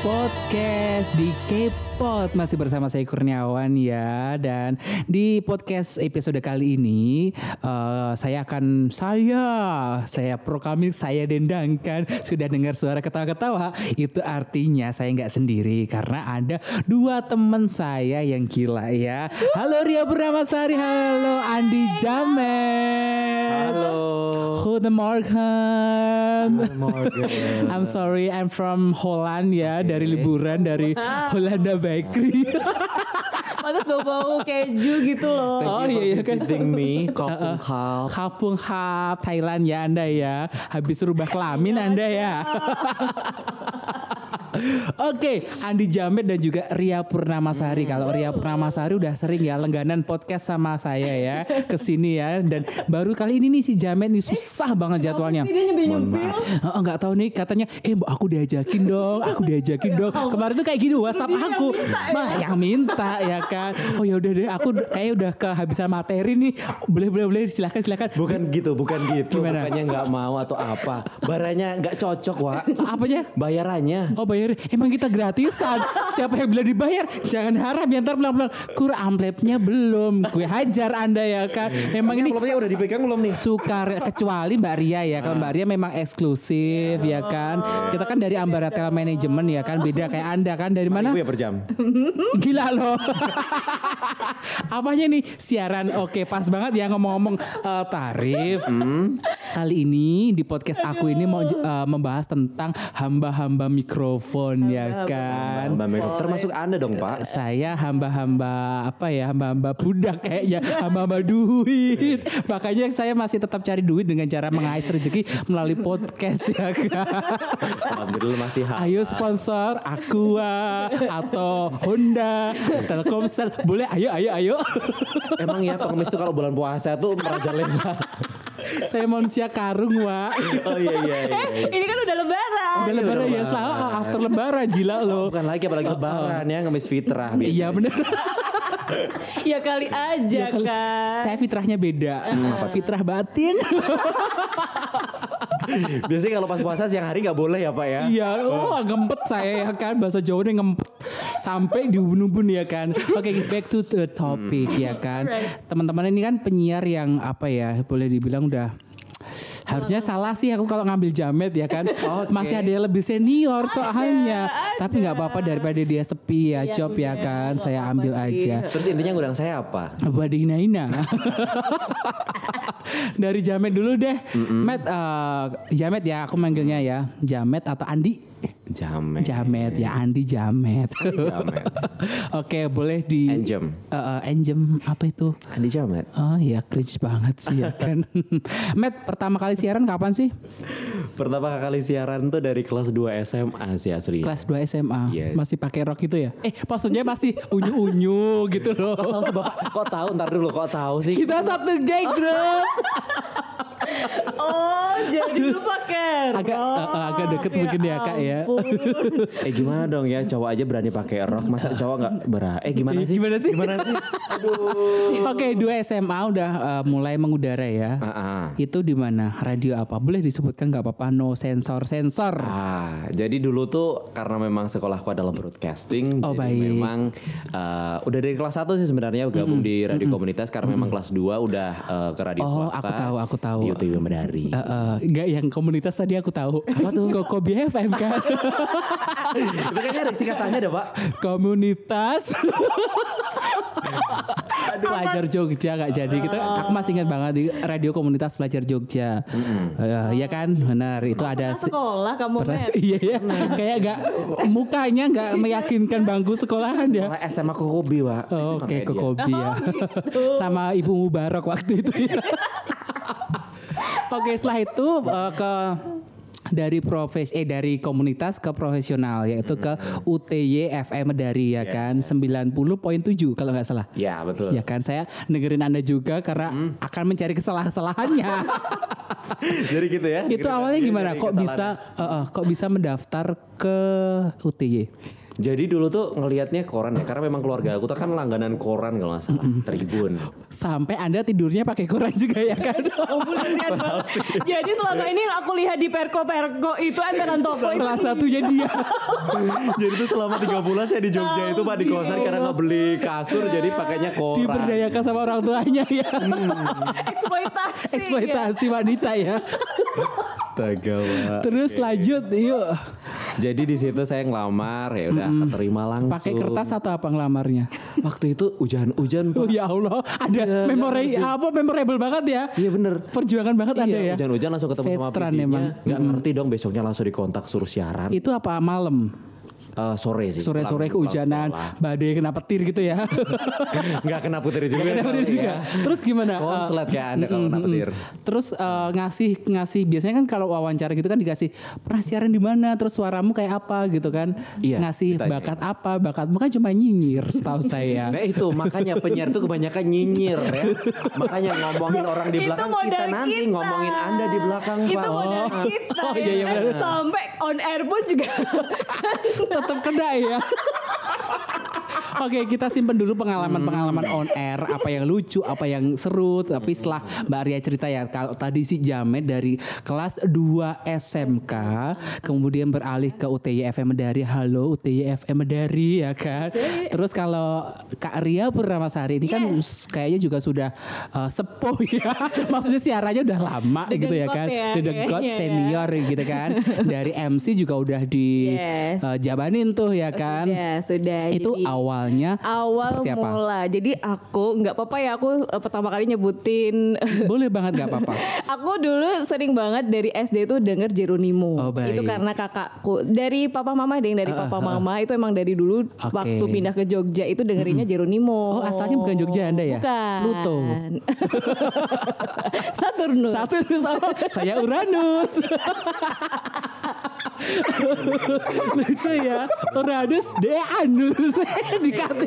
Podcast di K-Pod masih bersama saya Kurniawan ya dan di podcast episode kali ini eh, saya akan saya saya pro kami saya dendangkan sudah dengar suara ketawa-ketawa itu artinya saya nggak sendiri karena ada dua teman saya yang gila ya. Halo Ria Purnamasari, halo Andi Jamet. Halo. Guten Morgen. Morgan. I'm sorry, I'm from Holland ya, dari liburan dari Hollanda Bakery. Pantas bau-bau keju gitu loh. Oh, Thank you iya, iya, for kan. visiting me. Kopung Hal. Kapung Hap, Thailand ya Anda ya. Habis rubah kelamin Anda ya. Oke, Andi Jamet dan juga Ria Purnamasari. Kalau Ria Purnamasari udah sering ya lengganan podcast sama saya ya ke sini ya dan baru kali ini nih si Jamet nih susah banget jadwalnya. Ini dia nyempil-nyempil. Oh, nggak tahu nih katanya eh mbak aku diajakin dong aku diajakin dong kemarin tuh kayak gini WhatsApp Dia aku Ya minta ya. mah yang minta ya kan oh ya udah deh aku kayak udah kehabisan materi nih boleh boleh boleh silakan silakan Bukan gitu, bukan gitu. Gimana? Bukannya nggak mau atau apa. Baranya nggak cocok, Wak. apanya Bayarannya. Oh bayar Emang kita gratisan Siapa yang bilang dibayar Jangan harap ya Ntar pelan-pelan Kur amplopnya belum Gue hajar anda ya kan Memang ini Amplopnya udah dipegang belum nih? sukar kecuali Mbak Ria ya kalau Mbak Ria memang eksklusif ya kan kita kan dari Ambaratel Management ya kan beda kayak anda kan dari mana Ibu ya per jam. Gila loh. Apanya nih siaran? Oke, pas banget ya ngomong-ngomong eh, tarif. Kali ini di podcast aku ini mau eh, membahas tentang hamba-hamba mikrofon ya kan. Mbak Meko, termasuk Anda dong, Pak. Saya hamba-hamba apa ya? Hamba-hamba budak kayaknya, hamba-hamba duit. Makanya saya masih tetap cari duit dengan cara mengais rezeki melalui podcast ya kan. Alhamdulillah masih hal. Ayo sponsor Aqua atau Honda, Telkomsel, boleh ayo ayo ayo. Emang ya pengemis tuh kalau bulan puasa tuh merajalela. Saya manusia karung, Wak. oh iya iya iya. Eh, ini kan udah lebaran. Udah lebaran ya, setelah oh, after lebaran gila lo. Bukan lagi apalagi lebaran ya ngemis fitrah. biasanya. Oh, Iya bener Ya kali aja Kalau- kan. Saya fitrahnya beda. Apa fitrah batin? Biasanya kalau pas puasa siang hari nggak boleh ya, Pak ya. Iya, oh ngempet saya ya kan bahasa Jawanya ngempet sampai di ubun-ubun ya kan. Oke, back to the topic ya kan. Hmm. Right. Teman-teman ini kan penyiar yang apa ya, boleh dibilang udah harusnya salah sih aku kalau ngambil jamet ya kan. Masih ada yang lebih senior soalnya. Tapi nggak apa-apa daripada dia sepi ya, Iya, job ya bener. kan. Nggak Saya apa-apa ambil sih. aja. Terus intinya ngundang saya apa? Wadihna Ina. Dari Jamet dulu deh. Matt, eh, Jamet ya aku manggilnya ya. Jamet atau Andi? Jamet. Jamet ya Andi Jamet. Jamet. Oke, boleh di Enjem. Eh, eh, enjem apa itu? Andi Jamet. Oh ya cringe banget sih ya kan. Matt pertama kali siaran kapan sih? Pertama kali siaran tuh dari kelas 2 SMA sih asli. Kelas 2 SMA. Iya. Yes. Masih pakai rok gitu ya? Eh, maksudnya masih unyu-unyu gitu Tahu loh. sih bapak, kok tahu ntar dulu kok tahu sih. Kita satu geng, iya. bro. Oh, jadi lu pakai. Agak, rok. eh, eh, agak deket mungkin ya, Kak, ya. ampun. Eh gimana dong ya cowok aja berani pakai rok, masa cowok nggak berani? Eh gimana Iya, sih? gimana sih? Gimana sih? Oke, dua SMA udah eh, mulai mengudara ya. Ah, ah. Itu di mana? Radio apa? Boleh disebutkan nggak apa-apa? No sensor sensor. Ah, jadi dulu tuh karena memang sekolahku adalah broadcasting, Oh, jadi baik. memang eh, udah dari kelas 1 sih sebenarnya gabung di radio komunitas karena memang kelas 2 udah eh, ke radio Oh, swasta. aku tahu, aku tahu. Di UTW Medari. Eh, eh, nggak yang komunitas tadi aku tahu. Apa tuh? Koko BFM kan. Itu kayaknya ada singkatannya deh, Pak. komunitas. pelajar Jogja nggak jadi kita aku masih ingat banget di radio komunitas pelajar Jogja. Eh, ya kan? Benar, itu ada Nah, si- sekolah kamu pernah- Mer. Iya ya. Kayak nggak mukanya nggak meyakinkan bangku sekolahan ya. Malah SMA Kokobi, Pak. Oh, Itu Gitu. makanya Oke, dia. ke Kobi ya. Sama Ibu Mubarok waktu itu ya. Oke, setelah itu eh, ke dari profes eh dari komunitas ke profesional yaitu ke Hmm. UTY FM dari ya kan 90.7 kalau nggak salah. Ya, betul. Hmm. Ya kan saya dengerin Anda juga karena akan mencari kesalahan-kesalahannya. Jadi gitu ya. itu Gitu. awalnya Jadi gimana eh, dari kok kesalahan. bisa eh, eh, kok bisa mendaftar ke UTY? Jadi dulu tuh ngelihatnya koran ya, karena memang keluarga aku tuh kan langganan koran kalau nggak salah, Tribun. Sampai Anda tidurnya pakai koran juga ya kan? Kasihan banget. Jadi selama ini yang aku lihat di perko-perko itu emperan toko itu Salah satunya dia. jadi tuh selama 3 bulan saya di Jogja itu pak di kosan ya karena nggak beli kasur, jadi pakainya koran. Diberdayakan sama orang tuanya ya. Hmm. eksploitasi. ya. Eksploitasi wanita ya. Astaga, Pak. Terus lanjut yuk. Jadi di situ saya ngelamar ya udah keterima langsung. Pakai kertas atau apa ngelamarnya? Waktu itu hujan-hujan pak. Oh ya Allah, ada memori apa memorable banget ya. Iya bener. Iya, Perjuangan banget ada ya. hujan-hujan langsung ketemu sama Veteran PD-nya. emang. Nggak ngerti dong besoknya langsung dikontak suruh siaran. Itu apa malam? Eh, sore sih. Sore-sore pulang- kehujanan, pulang badai kena petir gitu ya. sekolah. Nggak kena putri juga. ya. Kena petir juga. Iya. Terus gimana? Eh, Konslet kayak anda kan, kalau kena petir. Terus eh, ngasih ngasih biasanya kan kalau wawancara gitu kan dikasih pernah siaran di mana, terus suaramu kayak apa gitu kan. Iya, ngasih ditanya. bakat apa, bakatmu kan cuma nyinyir setahu saya. Nah itu makanya penyiar tuh kebanyakan nyinyir ya. Makanya ngomongin orang Itu di belakang kita, modal nanti kita. ngomongin anda di belakang Itu pak. modal Oh. kita. Oh, ya iya, iya, kan? benar. Sampai on air pun juga. tetap kena ya. Oke kita simpen dulu pengalaman-pengalaman on air Apa yang lucu, apa yang seru Tapi setelah Mbak Arya cerita ya Kalau tadi si Jamet dari kelas 2 SMK Kemudian beralih ke UTY FM Medari Halo UTY FM Medari ya kan Terus kalau Kak Ria Purnamasari Ini kan s- kayaknya juga sudah uh, sepuh ya Maksudnya siarannya udah lama The gitu ya Dengkot kan ya, The Dengkot kayaknya ya. senior gitu kan Dari MC juga udah di Yes. eh, jabanin tuh ya kan. Sudah, sudah. Itu Jadi- awalnya awal seperti apa? mula. Jadi aku nggak apa-apa ya aku eh, pertama kali nyebutin Boleh banget gak apa-apa. Aku dulu sering banget dari SD itu denger Jeronimo. Oh, baik. Eh, Itu karena kakakku. Dari papa mama deh, dari papa mama itu emang dari dulu Oke. waktu pindah ke Jogja itu dengerinnya Jeronimo. Oh, asalnya bukan Jogja Anda ya? Bukan. Pluto. Saturnus. Satu terus apa? Saya Uranus. Lucu ya. Uranus de anus Dikata.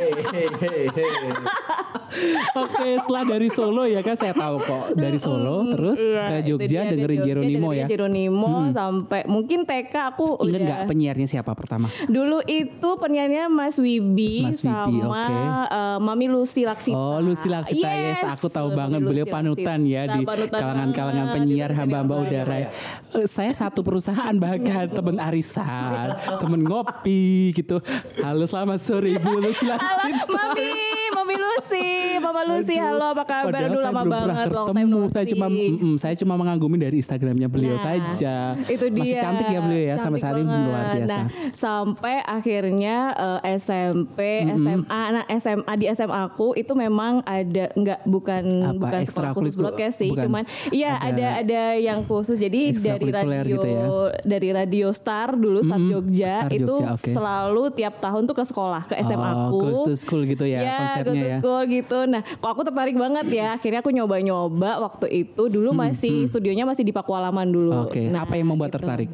Oke, setelah dari Solo ya kan saya tahu kok. Dari Solo terus ke Iya, itu dia, Jogja dari dengerin Jogja Jeronimo ya. dengerin Jeronimo sampai mungkin TK aku Ingat udah- nggak penyiarnya siapa pertama? Dulu itu penyanyinya Mas Wibi Mas Wibi, sama oke. eh, Mami Lucy Laksita. Oh Lucy Laksita yes, aku tahu Mami banget Lucy beliau panutan ya Laksita, di panutan eh, kalangan-kalangan banget. penyiar Dia hamba-hamba panutan udara. Eh, Saya satu perusahaan bahkan temen arisan, temen ngopi gitu. Halo selamat sore Ibu Lucy Halo, Laksita. Mami, Mami Lucy, Mama Lucy, Aduh, halo apa kabar? padahal Aduh saya lama belum pernah banget long time ketemu. no Saya see. cuma mm, saya cuma mengagumi dari Instagramnya beliau Nah, saja. Itu dia. Masih cantik ya beliau ya sampai Cantik saat ini banget. luar biasa. Nah, sampai akhirnya eh, SMP, SMA, nah SMA di SMA aku itu memang ada nggak bukan Apa, bukan sekolah khusus ekstrakurikul- broadcast sih, bukan. cuman iya ada Ada- ada yang khusus. Jadi dari Ekstrakurikuler radio gitu ya. dari radio Star dulu Star Jogja Star itu Jogja, oke. selalu tiap tahun tuh ke sekolah ke SMA Oh, aku. goes to school gitu ya Iya, konsepnya go to ya. school gitu. Nah, kok aku tertarik banget ya. Akhirnya aku nyoba-nyoba waktu itu dulu masih studionya masih di Pakualaman dulu. Hmm, Oke, Nah, apa yang membuat gitu. tertarik?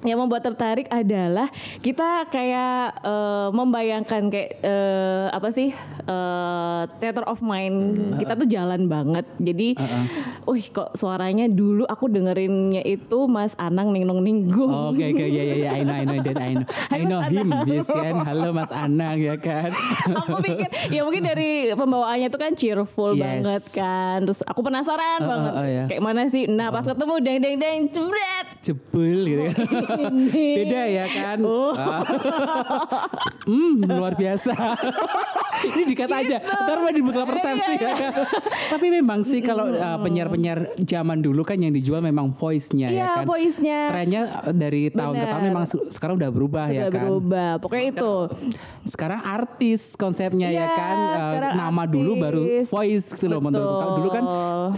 Yang membuat tertarik adalah kita kayak eh, membayangkan kayak eh, apa sih eh, theater of mind Hmm, kita tuh jalan banget. Jadi, wih kok suaranya dulu aku dengerinnya itu Mas Anang Ningnong Ninggung. Oke oke ya ya ya I know I know that I know I know him yes kan halo Mas Anang ya kan aku pikir ya mungkin dari pembawaannya tuh kan cheerful Yes. banget kan terus aku penasaran Oh, oh, banget oh, ya. Uh. kayak mana sih nah pas ketemu deng deng deng cebret jebul gitu kan beda ya kan Oh. Ah. hmm luar biasa ini dikata aja Gitu. ntar mah dibuka persepsi Iya, ya kan tapi memang sih kalau uh, penyiar-penyiar zaman dulu kan yang dijual memang voice-nya Iya, ya kan voice-nya. trennya uh, dari tahun ke tahun Benar. memang se- sekarang udah berubah Udah ya kan berubah pokoknya itu sekarang artis konsepnya ya Iya, kan Eh, sekarang nama dulu baru artis. voice gitu loh menurutku Kalau dulu kan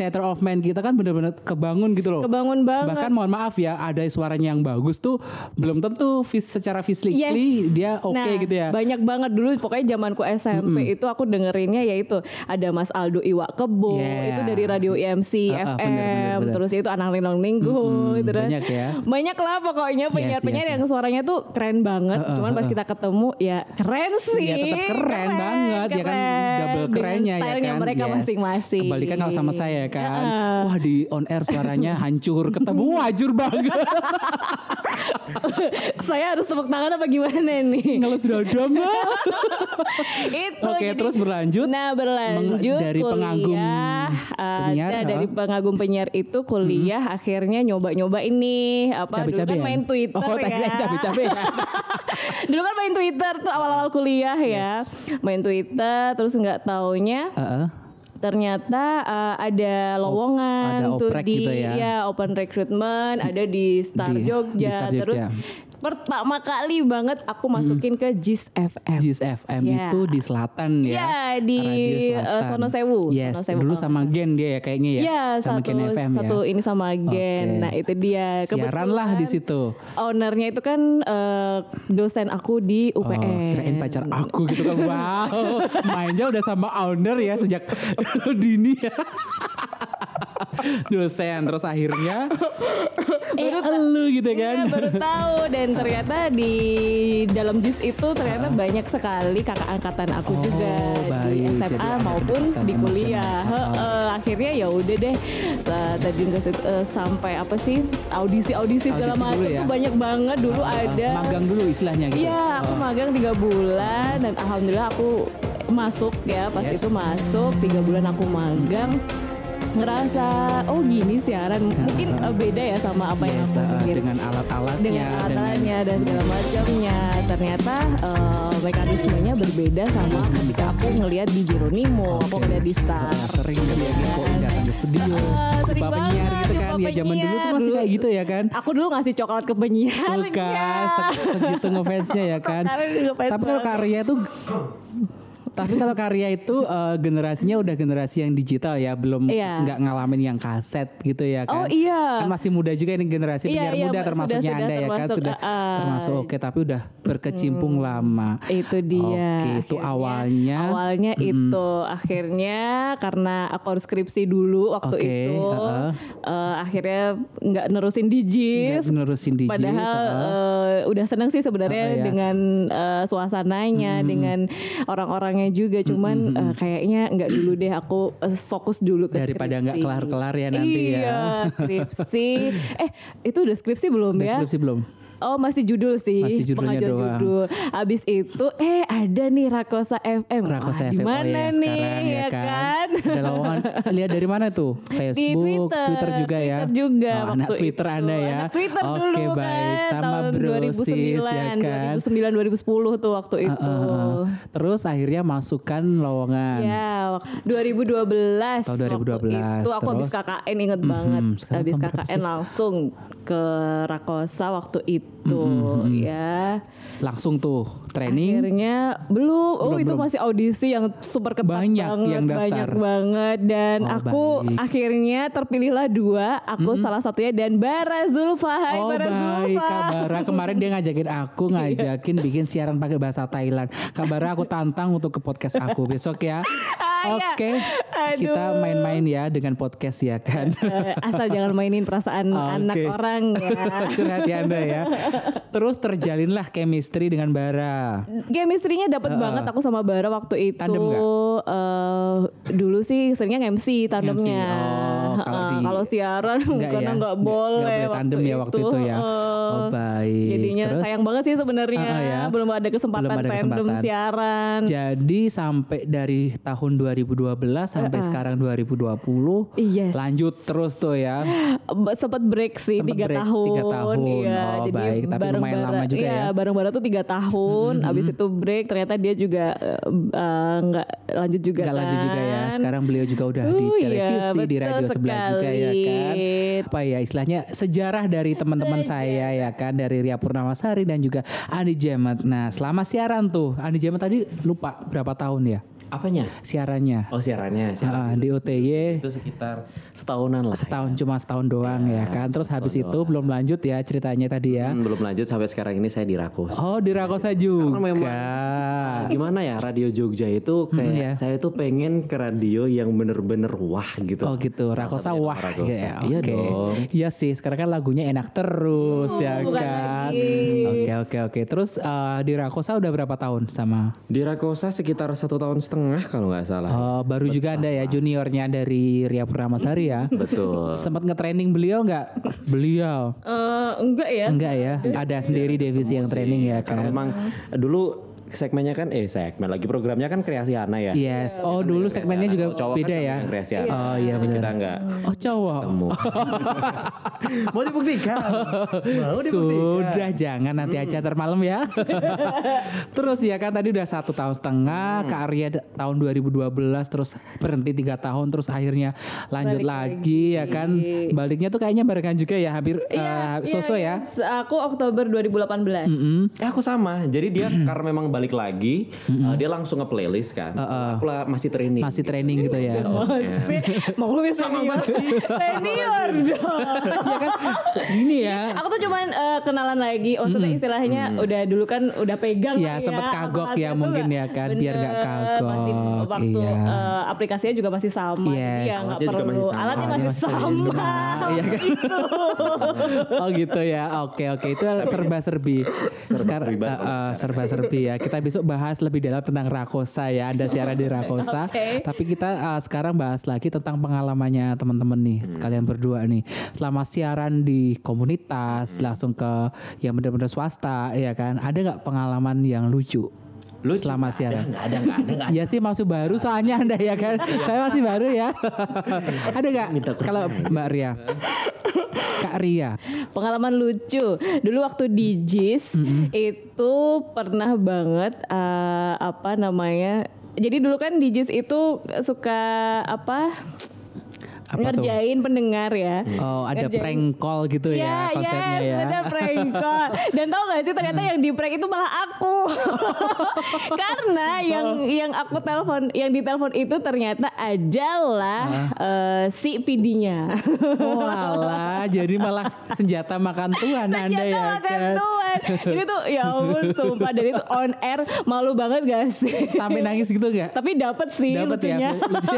theater of man kita kan bener-bener kebangun gitu loh Kebangun banget. bahkan mohon maaf ya ada suaranya yang bagus tuh belum tentu fis- secara physically Yes. dia oke Nah, gitu ya Banyak banget dulu pokoknya zamanku SMP itu aku dengerinnya yaitu ada Mas Aldo Iwak Kebo Yeah. itu dari radio E IMC Ah, ah, FM bener, bener, bener. terus itu Anang Rinong Minggu terus banyak ya. Banyak lah pokoknya penyiar-penyiar yes, Ah, yang suaranya tuh keren banget. Cuman pas kita ketemu ya keren sih. Ya tetap keren, banget ya kan double kerennya ya stylenya kan. mereka Yes. masing-masing. Kebalikan kalau sama saya kan. Heeh. Wah di on air suaranya hancur. Ketemu wajur banget. saya harus tepuk tangan apa gimana nih? Ngelus dada Mbak. itu Oke, terus berlanjut. nah berlanjut Meng- dari kuliah, pengagum eh, penyiar, nah, ah. dari pengagum penyiar itu kuliah akhirnya nyoba-nyoba ini apa dulu kan Cabe-cabean. main Twitter Oh ya tadi cabe-cabe ya. dulu kan main Twitter tuh awal-awal kuliah ya main Twitter terus nggak taunya Heeh. ternyata eh, ada lowongan ada tuh oprek di gitu ya. open recruitment ada di Star Di- Jogja di Star terus Jogja. Mm-hmm. pertama kali banget aku masukin ke JIS FM Jis FM Ya. itu di selatan ya. Ya, di, Radio Selatan. eh, Sono Sewu. Yes, Sono Sewu, dulu kalau sama Gen dia ya kayaknya ya. Ya, sama satu, Gen FM satu ya. ini sama Gen. Oke. Nah, itu dia. Siaran lah di situ. Ownernya itu kan eh, dosen aku di UPN. Oh, kirain pacar aku gitu kan. Wow. Mainnya udah sama owner ya sejak dini ya. Dosen terus akhirnya eh elu gitu Iya, kan. baru tahu dan ternyata di dalam JIS itu ternyata banyak sekali kakak angkatan aku Oh, juga di baik. Jadi SMA ada maupun kedekatan di kuliah. emosional. Heeh, akhirnya ya udah deh sa- tadi nggak sih, eh, sampai apa sih audisi-audisi segala Audisi dulu macam ya. tuh banyak banget dulu ada Magang dulu istilahnya gitu. Iya, aku magang tiga bulan dan alhamdulillah aku masuk ya pas Yes. itu masuk tiga bulan aku magang ngerasa oh gini siaran mungkin eh, beda ya sama apa yang Yes, aku ah, pikirin Iya. dengan alat-alatnya dengan alatnya dan segala macamnya ternyata eh, mekanismenya berbeda sama ketika aku ngelihat di Jeronimo aku Oke. ngelihat di Star Nah, sering kan ya, dia infoin datang ke studio Ah, sering jumpa penyiar banget, gitu kan jumpa ya zaman dulu tuh penyiar. Ah, masih Dulu- kayak gitu ya kan aku dulu ngasih coklat ke penyiar Tuh ya. kan se- segitu ngefansnya ya kan Karena dia ngefans tapi kalau banget. ya. karya itu tapi kalau karya itu eh, generasinya udah generasi yang digital ya belum Iya. nggak ngalamin yang kaset gitu ya Oh, kan iya. kan masih muda juga ini Iya, generasi penyiar iya, muda sudah- termasuknya sudah anda ya kan termasuk, hmm. sudah ah. termasuk oke tapi udah berkecimpung lama itu dia oke itu Akhirnya- awalnya awalnya itu akhirnya karena aku harus skripsi dulu waktu Oke, itu heeh. eh, akhirnya nggak nerusin di JIS Nggak nerusin di JIS, padahal heeh. eh, udah seneng sih sebenarnya Heeh, ya. dengan eh, suasananya dengan orang-orangnya juga cuman eh, kayaknya nggak dulu deh aku eh, fokus dulu ke Daripada skripsi. nggak kelar-kelar ya nanti ya. iya skripsi eh itu udah skripsi belum Udah ya skripsi belum? Oh masih judul sih Masih Pengajuan judulnya doang. judul Abis itu Eh ada nih Rakosa FM Rakosa Wah, FM. di mana Oh iya, nih sekarang ya kan, Ada lowongan. Lihat dari mana tuh? Facebook, Di Twitter, juga ya. Twitter juga Oh, anak waktu Twitter itu. Anda ya. Anak Twitter Oke, dulu kan baik. Sama tahun bro sis ya kan. 2009, 2010 tuh waktu itu Heeh. Terus akhirnya masukkan lowongan. Ya, wak- 2012. Tahun Waktu 2012, itu aku habis terus? KKN inget banget. sekarang Habis tahun berapa KKN langsung ke Rakosa waktu itu ya. Langsung tuh training. Akhirnya belum. Oh Belum, itu belum. masih audisi yang super ketat Banyak banget, yang daftar. banyak banget dan Oh, aku baik. akhirnya terpilihlah dua. Aku salah satunya dan Bara Zulfa. Hai Iya. oh Bara baik Zulfa. Kabara kemarin dia ngajakin aku ngajakin bikin siaran pakai bahasa Thailand. Kabara aku tantang untuk ke podcast aku besok ya. Ah, iya. Oke, kita Aduh. main-main ya dengan podcast ya kan. Eh, Asal jangan mainin perasaan Ah, Oke. anak orang ya. Curhat ya Anda ya. Terus terjalinlah chemistry dengan Bara. chemistry-nya dapat banget aku sama Bara waktu itu. Tandem nggak? Eh, dulu sih seringnya MC tandemnya. MC, oh, kalau Eh, di- kalau siaran karena ya? nggak Nggak- boleh, nggak boleh tandem ya waktu itu ya. eh. Oh, baik. Jadinya Terus? sayang banget sih sebenarnya Ah, ah, ya. Iya, belum ada kesempatan Belum ada tandem kesempatan. siaran. Jadi sampai dari tahun 2012 sampai sekarang 2020 Yes. lanjut terus tuh ya. Be- Sempet break sih Sempet tiga break tahun, tiga tahun. Iya, Oh, jadi baik. Tapi bareng lumayan lama juga iya, ya. Mm-hmm, bareng bareng tuh tiga tahun. Abis itu break, ternyata dia juga eh, eh, nggak lanjut juga. Gak lanjut juga ya. kan. Sekarang beliau juga udah di Oh, iya, televisi, di betul radio sebelah juga ya kan. sekali. Iya, Apa ya istilahnya sejarah dari teman-teman saya ya kan dari Ria Purnamasari dan juga Andi Jemet. Nah, selama siaran tuh Andi Jemet tadi lupa berapa tahun ya Apanya? siarannya. Oh siarannya, siaran Ah, di OTY itu sekitar setahunan lah. setahun cuma setahun doang ya, kan terus habis itu belum lanjut ya ceritanya tadi ya Hmm, Belum lanjut sampai sekarang ini saya di Rakus. oh di Rakosa juga memang gimana ya radio Jogja itu kayak iya. saya tuh pengen ke radio yang bener-bener wah gitu. Oh gitu, Salah Rakosa satunya wah Rakosa. ya, Iya oke. dong. Oh, Iya sih, sekarang kan lagunya enak terus ya bukan kan. lagi. Oke oke oke. Terus eh, di Rakosa udah berapa tahun sama? Di Rakosa sekitar satu tahun setengah kalau nggak salah. Eh, baru juga ada ya juniornya dari Ria Purnamasari ya. Betul. Sempat nge-training beliau nggak? Beliau Eh, enggak ya enggak ya? Ada sendiri Devisi yang training ya Karena kan. memang dulu segmennya kan eh segmen lagi programnya kan kreasi Hana ya. Yes. Oh dulu segmennya Kreasi juga Hana. Kalau cowok kan beda ya. namanya Kreasi Hana. Oh iya Jadi Kita benar. nggak Oh cowok. ketemu. Mau dibuktikan. Mau dibuktikan. Sudah jangan nanti aja ntar malam ya. terus ya kan tadi udah satu tahun setengah, Kak Arya d- tahun 2012 terus berhenti tiga tahun, terus akhirnya lanjut lagi, ya kan. Baliknya tuh kayaknya barengan juga ya, hampir eh, sosok iya, ya. iya. Aku Oktober 2018. Hmm. Eh aku sama. Jadi dia karena memang balik lagi, uh, dia langsung nge playlist kan. Aku lah masih training. Hmm. Masih training gitu ya. Oh, Maksudnya, maklumnya Sama senior. banget sih. Senior dong. ya kan. Gini ya. Aku tuh cuman eh, kenalan lagi. Maksudnya istilahnya udah dulu kan udah pegang. Iya, lah sempet kagok Apa-apa ya tuh mungkin nggak- ya kan, biar nggak bener, kagok. Masih waktu Iya. eh, aplikasinya juga masih sama. Jadi Yes. ya nggak Alatnya juga perlu. masih sama. Alatnya Alatnya masih masih sama. sama, iya kan? Gitu. Oh gitu ya, oke oke itu serba-serbi. Sekarang banget eh, eh, serba-serbi ya. Kita besok bahas lebih dalam tentang Rakosa ya. Anda siaran di Rakosa, Oke. tapi kita eh, sekarang bahas lagi tentang pengalamannya teman-teman nih, kalian berdua nih. Selama siaran di komunitas langsung ke yang benar-benar swasta ya kan. Ada nggak pengalaman yang lucu? Lu selama siaran. Enggak ada, enggak ada, enggak ada. Iya sih masih baru soalnya Anda ya kan. Saya masih baru ya. Ada nggak kalau Mbak Ria? Kak Ria, Pengalaman lucu. Dulu waktu di JIS itu pernah banget eh, apa namanya? Jadi dulu kan di JIS itu suka apa? Apa tuh? ngerjain pendengar ya. Oh ada Ngerjain- prank call gitu ya, konsepnya yes, ya. ada prank call. Dan tau gak sih ternyata yang di prank itu malah aku. Karena yang yang aku telepon, yang ditelepon itu ternyata ajalah eh, si PD-nya. Oh alah, jadi malah senjata makan Tuhan Anda ya makan kan. tuan. Ini tuh ya ampun sumpah dan itu on air malu banget gak sih? Sampai nangis gitu gak? Tapi dapat sih Dapat lucunya. ya. lucu.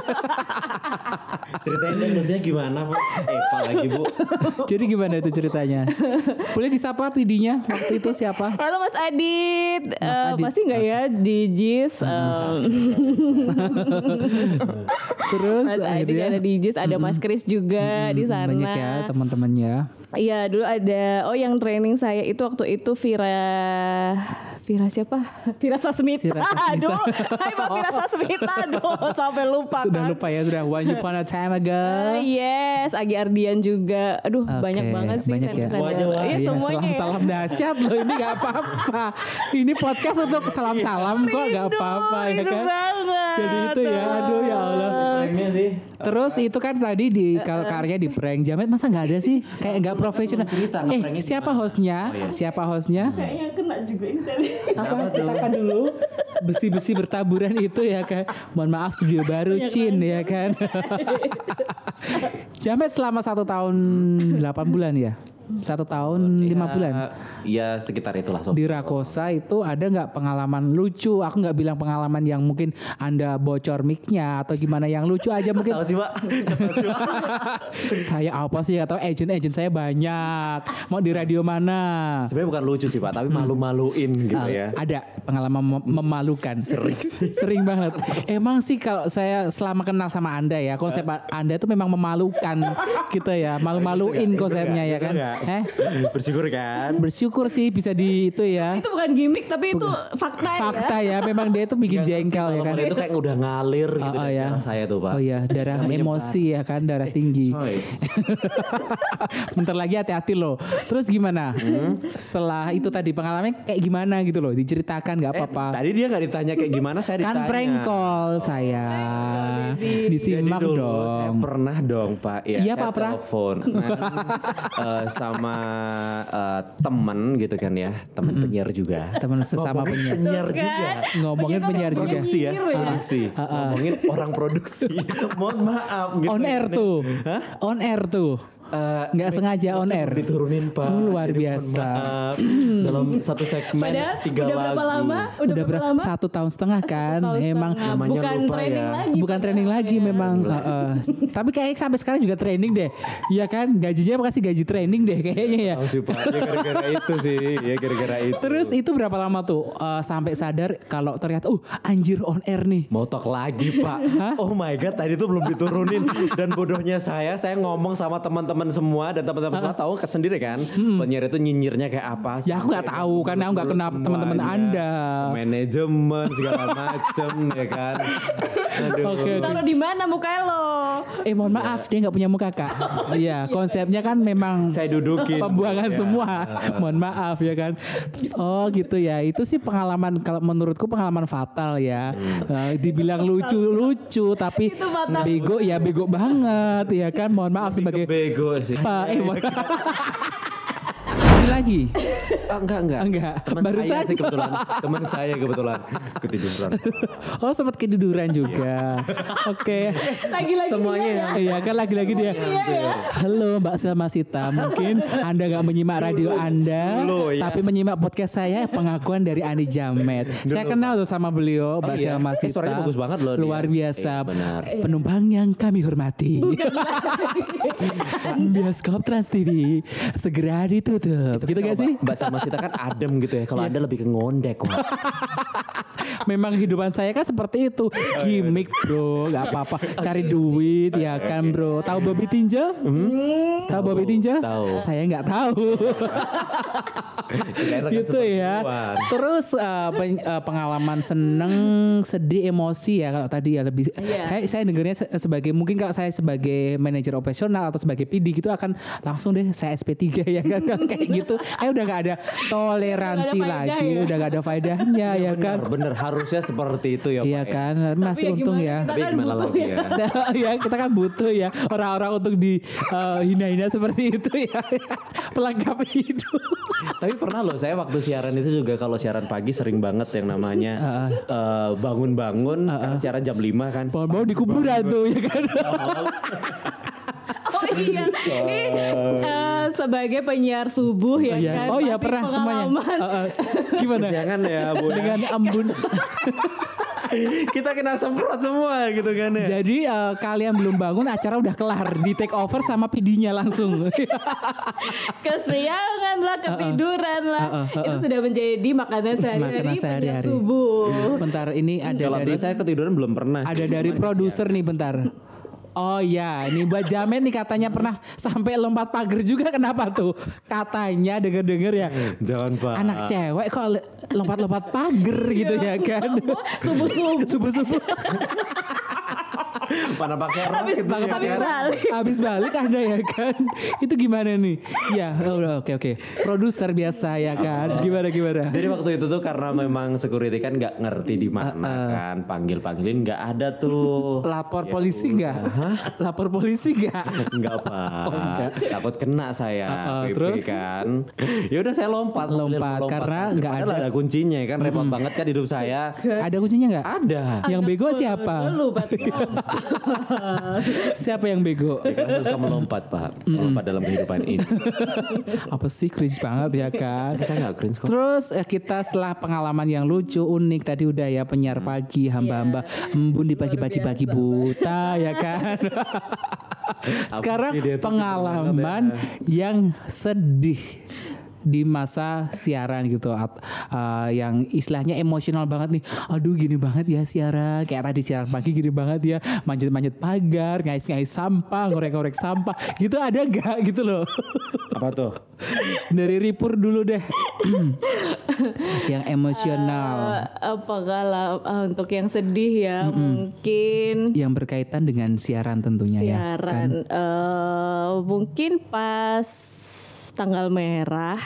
Ceritain dong lucunya gimana, Pak? Eh, Pak lagi, Bu. jadi gimana itu ceritanya? Boleh disapa PD-nya waktu itu siapa? Halo Mas Adit, Mas Eh, Adit. pasti nggak ya di JIS? Eh, Terus Mas Adit akhirnya ada di JIS, ada Mas Kris juga di sana. banyak ya teman-temannya. Iya dulu ada oh yang training saya itu waktu itu Vira Vira siapa? Vira Sasmita. Vira Sasmita. Aduh, hai Mbak Vira Sasmita. Aduh, sampai lupa Sudah kan. lupa ya sudah one upon a time ago. Ah, yes, Agi Ardian juga. Aduh, Oke, banyak banget sih banyak sender-sender. ya. Semua aja lah. Iya, Iya, semuanya. ya. salam-salam dahsyat loh ini gak apa-apa. Ini podcast untuk salam-salam kok gak Rindu, apa-apa ya rindu kan. banget. Jadi itu ya, aduh ya Allah. Pranknya sih. Terus itu kan tadi di kalau karya di prank jamet masa nggak ada sih kayak nggak profesional. cerita, eh nge-pranknya siapa hostnya? Siapa hostnya? Kayaknya kena juga ini tadi. Oh, iya. Apa katakan dulu besi-besi bertaburan itu ya kan. Mohon maaf studio baru Cin ya kan. jamet selama satu tahun delapan bulan ya. Satu tahun lima bulan. Ya sekitar itulah sob. Di Rakosa itu ada nggak pengalaman lucu? Aku nggak bilang pengalaman yang mungkin anda bocor micnya atau gimana yang lucu aja mungkin Tahu sih, Pak. Tahu sih, Pak. saya apa sih atau agent-agent saya banyak mau di radio mana Eh, Sebenarnya bukan lucu sih, Pak, tapi malu-maluin Ah. gitu ya. ada pengalaman mem- memalukan sering sering banget emang sih kalau saya selama kenal sama anda ya konsep anda itu memang memalukan gitu ya iya malu-maluin konsepnya ya kan eh Bersyukur kan? bersyukur sih bisa di itu ya Itu bukan gimmick tapi itu fakta, ya. fakta ya memang dia itu bikin Iya, jengkel ya kan Kalau itu kayak udah ngalir gitu Oh, oh, dari ya. darah saya tuh, Pak. Oh, iya. Oh iya, Eh, darah emosi ya kan, darah tinggi. coy. Bentar lagi hati-hati loh. Terus gimana? Hmm? Setelah itu tadi pengalamannya kayak gimana gitu loh, diceritakan nggak apa-apa. Eh, Tadi dia nggak ditanya kayak gimana, saya kan ditanya. Oh. prank call saya. Jadi Disimak dulu saya dong. pernah dong Pak ya, Iya, saya Pak Pra. telepon Nah, eh, sama eh, temen gitu kan ya, temen penyiar juga. Teman sesama Ngomongin penyiar penyiar. juga. Ngomongin penyiar Iya. juga. Produksi ya, produksi. Ngomongin orang produksi. Mohon maaf gitu. On air tuh. On air tuh. eh, Nggak sengaja on air. Hmm, diturunin pak. Luar Jadi mohon biasa. Hmm. maaf. dalam satu segmen Padahal tiga udah lagu. berapa lama? Udah, Udah berapa berapa? lama? Satu tahun setengah kan. Tahu Emang setengah. Iya, Namanya bukan lupa training ya. lagi. bukan training lagi memang. Iya. eh, eh. Tapi kayaknya sampai sekarang juga training deh. Iya kan? Gajinya pasti gaji training deh kayaknya ya. Tahu sih pak. Ya gara-gara itu sih. Ya gara-gara itu. Terus itu berapa lama tuh eh, sampai sadar kalau ternyata uh anjir on air nih. Motok lagi pak Oh my god tadi tuh belum diturunin Dan bodohnya saya Saya ngomong sama teman-teman semua Dan teman-teman semua tahu kan sendiri kan Penyiar itu nyinyirnya kayak apa Hmm. Ya, aku nggak Sampai tahu, karena aku nggak kenal semuanya. teman-teman Anda. Manajemen segala macem ya kan Aduh Oke, oke. Taruh di mana muka lo? Eh Iya. mohon maaf dia nggak punya muka kak. Iya konsepnya kan memang Saya dudukin pembuangan Ya. semua. mohon maaf ya kan. Terus, oh gitu ya. Itu sih pengalaman kalau menurutku pengalaman fatal ya. Iya. Eh, dibilang lucu lucu tapi Itu fatal. bego ya bego banget ya kan. Mohon maaf sebagai Bego sih Pak, eh, mohon- Ini lagi. Ah, enggak enggak Enggak. Teman Barusan. saya sih kebetulan Teman saya kebetulan Ketiduran Oh sempat ketiduran juga. Oke. Lagi-lagi Semuanya dia ya. Iya kan lagi-lagi dia. iya. Halo Mbak Selma Sita, mungkin Anda nggak menyimak radio Anda, dulu, ya. tapi menyimak podcast saya pengakuan dari Ani Jamet. saya kenal tuh sama beliau Mbak Oh, iya. Selma Eh, Sita. suaranya bagus banget loh dia. Luar biasa. Eh. Iya, benar. Penumpang yang kami hormati. Bioskop Trans TV segera ditutup. gitu gak sih? Iya. Mbak sama Sita kan adem gitu ya Kalau Anda lebih ke ngondek Wak. Memang kehidupan saya kan seperti itu. Gimik, Bro. nggak apa-apa. Cari duit ya kan, Bro. Tahu Bobby Tinja? Tahu Bobby Tinja? Hmm. Tahu. Saya nggak tahu. Kirain rekan gitu ya. seperguruan. Terus eh, pen- eh, pengalaman seneng, sedih, emosi ya kalau tadi ya lebih. Iya. Kayak saya dengarnya se- sebagai mungkin kalau saya sebagai manajer operasional atau sebagai PD gitu akan langsung deh saya SP3 ya kan Kalau kayak gitu. Kayak udah nggak ada toleransi Nggak ada faedah lagi, ya. udah nggak ada Iya, faedahnya ya kan. Bener, bener harusnya seperti itu ya. Iya Pak, ya. kan, masih untung ya. Tapi Kita kan gimana butuh lagi ya. ya? ya kita kan butuh ya orang-orang untuk dihina-hina seperti itu ya pelengkap hidup. Tapi pernah loh saya waktu siaran itu juga kalau siaran pagi sering banget yang namanya eh, bangun-bangun karena siaran jam 5 kan. Mau mau di kuburan tuh ya kan. Oh iya, ini eh, sebagai penyiar subuh ya Iya. kan? Oh ya Pasti pernah semuanya. pengalaman. Uh, uh. Gimana? Jangan ya, Bu. Dengan embun. Kita kena semprot semua gitu kan ya. Jadi uh, kalian belum bangun acara udah kelar di take over sama PD-nya langsung. Nah, Kesiangan lah, ketiduran lah. Uh, uh, uh, Itu sudah menjadi makanan sehari-hari Uh-uh. Makanan penyiar sehari-hari. Iya. subuh. bentar ini ada Kalau dari dari saya ketiduran belum pernah. ada dari produser nih bentar. Oh ya, ini Mbak Jamet nih katanya pernah sampai lompat pagar juga kenapa tuh? Katanya denger-denger ya. Jangan pak. Anak cewek kok le- lompat-lompat pagar gitu ya kan. Subuh-subuh. Subuh-subuh Mana pakai ras Habis- gitu habis- ya, habis kan? balik. Habis balik ada ya kan Itu gimana nih Ya oh, udah, oke oke Produser biasa ya kan Gimana gimana Jadi waktu itu tuh karena memang security kan nggak ngerti di mana kan panggil panggilin nggak ada tuh Lapor polisi nggak? Lapor polisi nggak? Enggak pak, Oh, enggak. takut kena saya Uh-uh, PP terus? kan. Ya udah saya lompat, Lompat, karena nggak Padahal ada. kuncinya kan repot banget kan hidup saya. Ada kuncinya nggak? Ada. Yang bego siapa? Lu Bat. Iya. Siapa yang bego? Ya, karena saya suka melompat pak, melompat dalam kehidupan ini. Apa sih cringe banget ya kan Saya nggak cringe kok. Terus eh, kita setelah pengalaman yang lucu unik tadi udah ya penyiar Hmm. pagi hamba-hamba Iya. embun di pagi-pagi pagi buta ya kan. Sekarang sih dia tuh ya? pengalaman yang sedih di masa siaran gitu At- uh, yang istilahnya emosional banget nih aduh gini banget ya siaran kayak tadi siaran pagi gini banget ya manjat-manjat pagar ngais-ngais sampah ngorek-ngorek sampah gitu ada gak gitu loh Apa tuh? dari Ripur dulu deh. yang emosional Eh. apa kalau ah, untuk yang sedih ya mungkin yang berkaitan iya, kan. dengan siaran tentunya ya. siaran eh, mungkin pas tanggal merah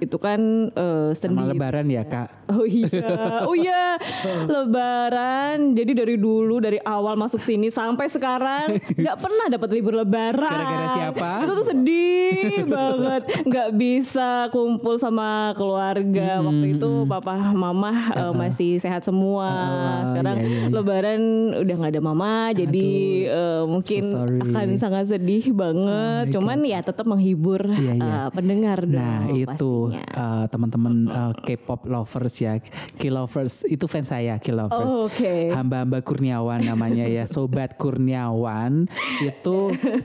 itu kan eh, Sama sendiri. lebaran ya kak. Oh iya, oh iya, Lebaran. Jadi dari dulu dari awal masuk sini sampai sekarang nggak pernah dapat libur Lebaran. Gara-gara siapa? Itu tuh sedih banget. Nggak bisa kumpul sama keluarga. Hmm, Waktu itu papa, mama eh, masih sehat semua. Uh-uh, Sekarang iya, iya, iya. Lebaran udah nggak ada mama, jadi eh, mungkin so sorry. Oh akan sangat sedih banget. Cuman ya tetap menghibur Iya, iya. eh, pendengar dong. Nah itu pastinya. eh, teman-teman eh, K-pop lovers ya, K-lovers itu fans saya K-lovers. Oh, oke. Hamba-hamba Kurniawan namanya ya, sobat Kurniawan itu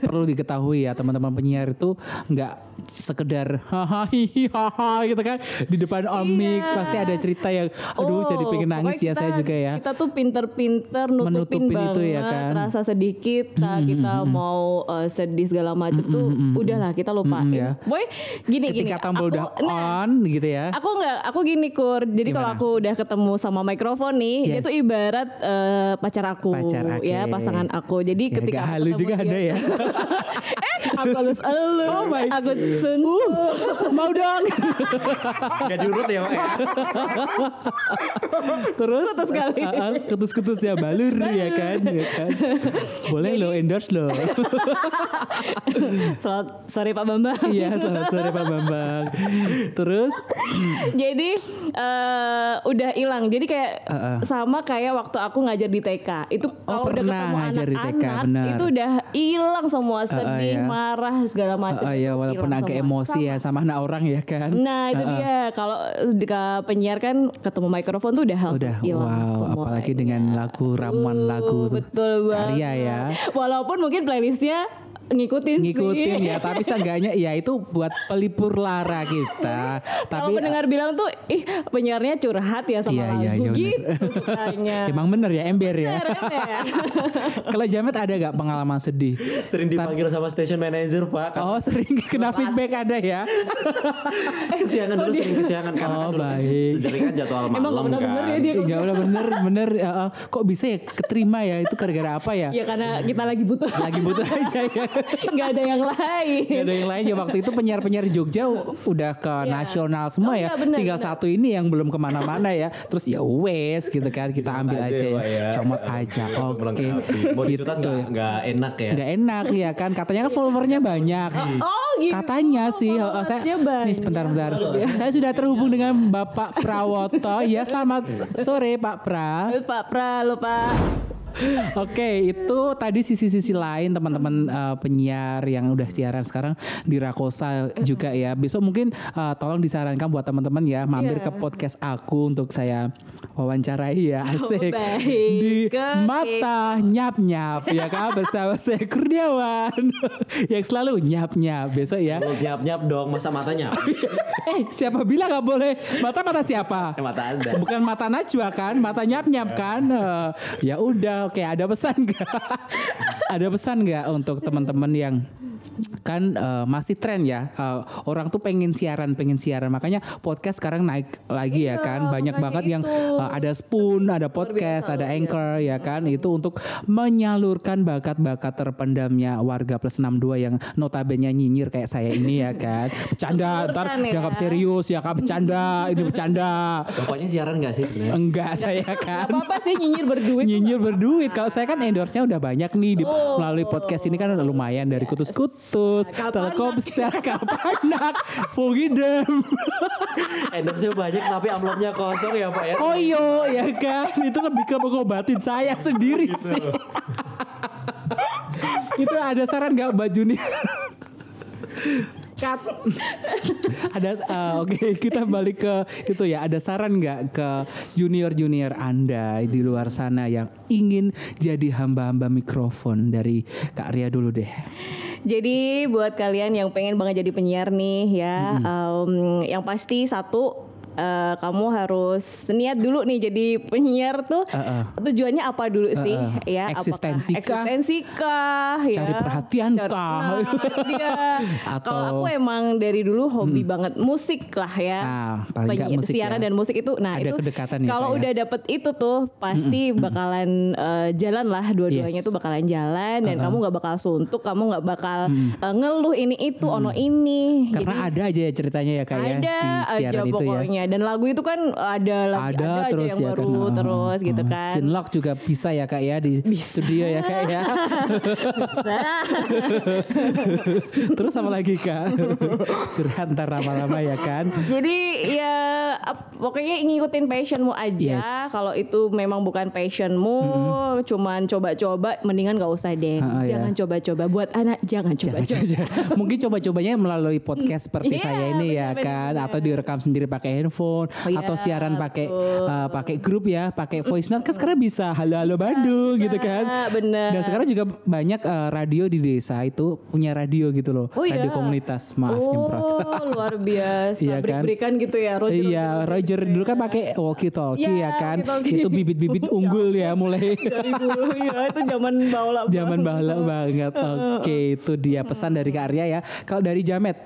perlu diketahui ya teman-teman penyiar itu nggak sekedar hahaha hahaha gitu kan di depan omik Iya. Oh, pasti ada cerita yang aduh jadi pengen pokoknya nangis ya saya kita- juga ya. Kita tuh pinter-pinter nutupin, Menutupin banget, itu ya kan. rasa sedikit, tak kita mau eh, sedih segala macem tuh, udahlah kita lupain. ya. Boy, gini gini. Ketika tombol aku- udah nah, on gitu ya. Aku nggak, aku gini kur. Jadi kalau Gimana? aku udah ketemu sama mikrofon nih, dia Yes. tuh ibarat eh, pacar aku, Pacar aku. ya pasangan aku. Jadi Ya, ketika agak aku halu ketemu juga dia- ada ya. Oh eh, aku halus elus, aku sungguh. Uh, Mau dong. Gak diurut ya, Mak, ya. Terus terus sekali. Ah, ah, Ketus-ketus ya balur ya kan, ya kan? Boleh lo endorse lo. Selamat sore Pak Bambang. Iya, selamat sore Pak Bambang. Terus Jadi eh, udah hilang. Jadi kayak sama kayak waktu aku ngajar di TK. Itu kalau udah Oh, pernah ketemu ngajar di TK, anak-anak benar. itu udah hilang semua sedih, iya. marah segala macam. ah, ah, ya walaupun Hilang agak semua. emosi ya sama anak orang ya kan. Nah, itu dia. Kalau di ke penyiar kan ketemu mikrofon tuh udah langsung Udah hilang wow, semua. apalagi kayaknya. Uh, dengan lagu ramuan lagu tuh. betul banget. karya ya. Walaupun mungkin playlistnya ngikutin, sih. Ngikutin ya, tapi seenggaknya ya itu buat pelipur lara kita. Kalau tapi eh, pendengar bilang tuh, ih penyiarnya curhat ya sama Iya, lagu iya, iya, benar. gitu sukanya. emang bener ya ember ya. Bener, bener. Kalau Jamet ada gak pengalaman sedih? Sering dipanggil sama station manager, Pak. Oh sering kena feedback ada ya. Kesiangan dulu, sering kesiangan. Karena kan Oh, dulu baik. sering kan jadwal Emang malam bener bener ya kan. dia Iya udah bener bener ya, uh, kok bisa ya keterima ya itu gara-gara apa ya? Ya karena kita lagi butuh Lagi butuh aja ya. nggak ada yang Gak lain ada yang lain ya waktu itu penyiar-penyiar Jogja udah ke nasional Oh, semua ya. iya, bener, Tinggal bener. satu ini yang belum kemana-mana ya. Terus ya wes gitu kan kita ambil aja aja, ya, ya. Pak, ya. comot aja. Oke. Melengkapi. Mau Gitu dicutat nggak ya. nggak enak ya. Nggak enak ya kan katanya kan followernya banyak. Oh gitu Katanya sih, oh, oh, saya followersnya banyak. nih sebentar-bentar. Saya sudah terhubung dengan Bapak Prawoto. ya selamat sore Pak Pra. Pak Pra lo Pak Oke, itu tadi sisi-sisi lain teman-teman uh, penyiar yang udah siaran sekarang di Rakosa juga ya. Besok mungkin uh, tolong disarankan buat teman-teman ya mampir Iya. ke podcast aku untuk saya wawancarai ya asik Oh, baik. di Oke. mata nyap-nyap ya kan bersama saya Kurniawan yang selalu nyap-nyap besok ya. Lu Nyap-nyap dong, masa matanya? Eh, siapa bilang nggak boleh? Mata-mata siapa? Eh, mata anda. Bukan mata Najwa kan, mata nyap-nyap kan. Eh, ya udah, oke ada pesan nggak? ada pesan nggak untuk teman-teman yang kan eh, masih tren ya Eh, orang tuh pengen siaran pengen siaran makanya podcast sekarang naik lagi ya kan banyak Iya, makanya banget yang itu. eh, ada spoon ada podcast ada anchor ya kan itu untuk menyalurkan bakat-bakat terpendamnya warga plus 62 yang notabene nyinyir kayak saya ini ya kan bercanda ntar Salurkan ya. dianggap serius ya kan bercanda ini bercanda Bapaknya siaran gak sih sebenarnya? Enggak saya Gak kan apa-apa sih nyinyir berduit nyinyir berduit. Kalau saya kan endorse-nya udah banyak nih di, melalui podcast ini kan udah lumayan dari kutus-kutus, Kapanak. Telkomsel, Kapanak, Fugidem, Endorse banyak tapi amplopnya kosong ya, Pak ya. Koyo ya kan. Itu lebih ke mengobatin saya sendiri sih. Itu ada saran nggak Mbak Juni? Cut. ada eh, oke kita balik ke itu ya ada saran nggak ke junior junior anda di luar sana yang ingin jadi hamba-hamba mikrofon dari Kak Ria dulu deh Jadi buat kalian yang pengen banget jadi penyiar nih ya, em, yang pasti satu eh, kamu harus niat dulu nih jadi penyiar tuh Heeh. tujuannya apa dulu sih Heeh. ya? Eksistensi kah? apakah, eksistensi kah? ya? Cari perhatian kah? Nah, itu dia. Atau- Mm. Kalau aku emang dari dulu hobi banget musik lah ya. Ah, paling nggak Penyi- musik siaran ya. dan musik itu. Nah Ada itu kedekatan ya, Kak, kalau ya? udah dapet itu tuh pasti bakalan eh, jalan lah dua-duanya Yes. tuh bakalan jalan dan kamu nggak bakal suntuk, kamu nggak bakal Hmm. eh, ngeluh ini itu ono ini. Jadi, Karena ada aja ya ceritanya ya Hmm. kayak di ada aja siaran itu ya. pokoknya dan lagu itu kan ada lagi ada, Ada, aja terus yang ya baru kan. terus gitu kan Chinlock juga bisa ya kak ya di studio ya kak ya. Nah, terus apa lagi kak? Curhat ntar lama-lama ya kan. Jadi ya ap- pokoknya ngikutin passionmu aja. Yes. Kalau itu memang bukan passionmu, cuman coba-coba, mendingan gak usah deh. Ha-ha, ya. jangan coba-coba. Buat anak jangan Jangan, coba-coba. jangan. Mungkin coba-cobanya melalui podcast seperti Iya, saya ini ya benar-benar. kan, atau direkam sendiri pakai handphone, iya, atau siaran pakai eh, pakai grup ya, pakai voice note. Kan sekarang bisa halo halo Bandung gitu kan. bener. Dan sekarang juga banyak eh, radio di desa itu punya radio gitu loh, Oh, iya. radio komunitas. Maaf nyemprot. Oh luar biasa. Iya kan? Berikan gitu ya. Roger, iya, Roger, Roger dulu kan pakai walkie talkie Iya, ya kan. walkie-talkie. Itu bibit-bibit unggul ya mulai Dari dulu ya itu zaman baula. zaman bahala banget. Oke, itu dia pesan dari Kak Arya ya. Kalau dari Jamet,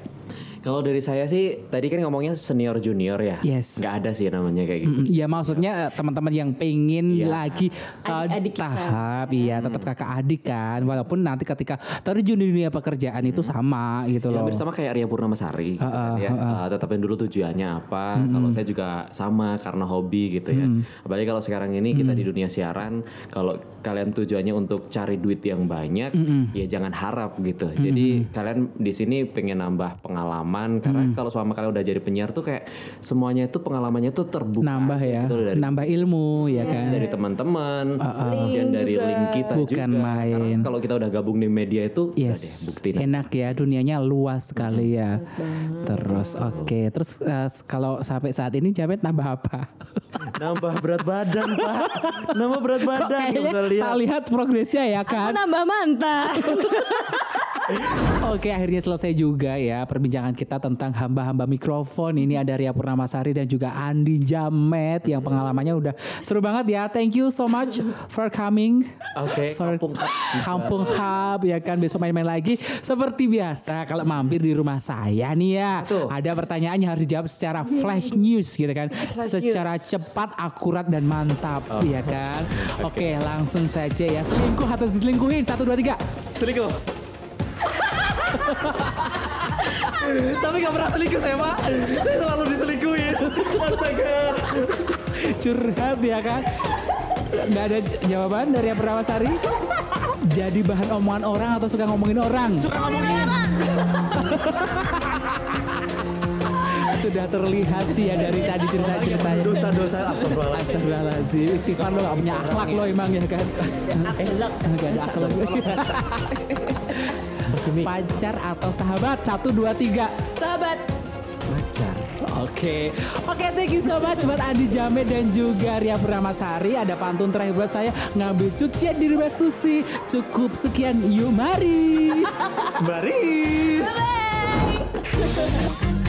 Kalau dari saya sih tadi kan ngomongnya senior junior ya. Yes. Nggak ada sih namanya kayak gitu. ya maksudnya eh, teman-teman yang pengen Iya. Hmm. lagi eh, Adik-adik kita. tahap iya tetap kakak adik kan walaupun nanti ketika terjun di dunia pekerjaan itu sama gitu Ya, loh. hampir sama kayak Ria Purnamasari gitu kan ya. Eh, tetapin dulu tujuannya apa. Kalau saya juga sama karena hobi gitu ya. Apalagi kalau sekarang ini kita di dunia siaran, kalau kalian tujuannya untuk cari duit yang banyak, ya jangan harap gitu. Jadi kalian di sini pengen nambah pengalaman karena kalau selama kalian udah jadi penyiar tuh kayak semuanya itu pengalamannya tuh terbuka nambah aja ya, gitu loh dari nambah ilmu Iya. ya kan. dari teman-teman, kemudian dari link kita Bukan juga. main. Karena kalau kita udah gabung di media itu, udah deh, Yes, buktiin enak ya dunianya luas sekali ya. Terus oke, terus eh, kalau sampai saat ini Jamet nambah apa? nambah berat badan pak nambah berat badan Kayaknya bisa tak lihat lihat progresnya ya kan. Nambah mantan. Oke akhirnya selesai juga ya perbincangan kita tentang hamba-hamba mikrofon ini ada Ria Purnamasari dan juga Andi Jamet yang pengalamannya udah seru banget ya thank you so much for coming oke For- kampung Kak. Kampung Hub ya kan besok main-main lagi seperti biasa kalau mampir di rumah saya nih ya Betul. ada pertanyaannya harus dijawab secara flash news gitu kan secara cepat akurat dan mantap Oh. ya kan oke langsung saja ya selingkuh atau diselingkuhin satu dua tiga selingkuh tapi gak pernah selingkuh saya pak saya selalu diselingkuhin astaga curhat ya kan nggak ada j- jawaban dari yang pertama Sari jadi bahan omongan orang atau suka ngomongin orang suka ngomongin sudah terlihat sih ya dari tadi cerita ceritanya dosa-dosa astagfirullahaladzim Astagfirullahaladzim Istighfar lo gak punya akhlak lo emang ya kan Gak ada akhlak Pacar atau sahabat Satu, dua, tiga Sahabat. pacar Oke, oke, thank you so much buat Andi Jame dan juga Ria Puramasari. Ada pantun terakhir buat saya ngambil cucian di rumah Susi. Cukup sekian, yuk mari. mari Bye.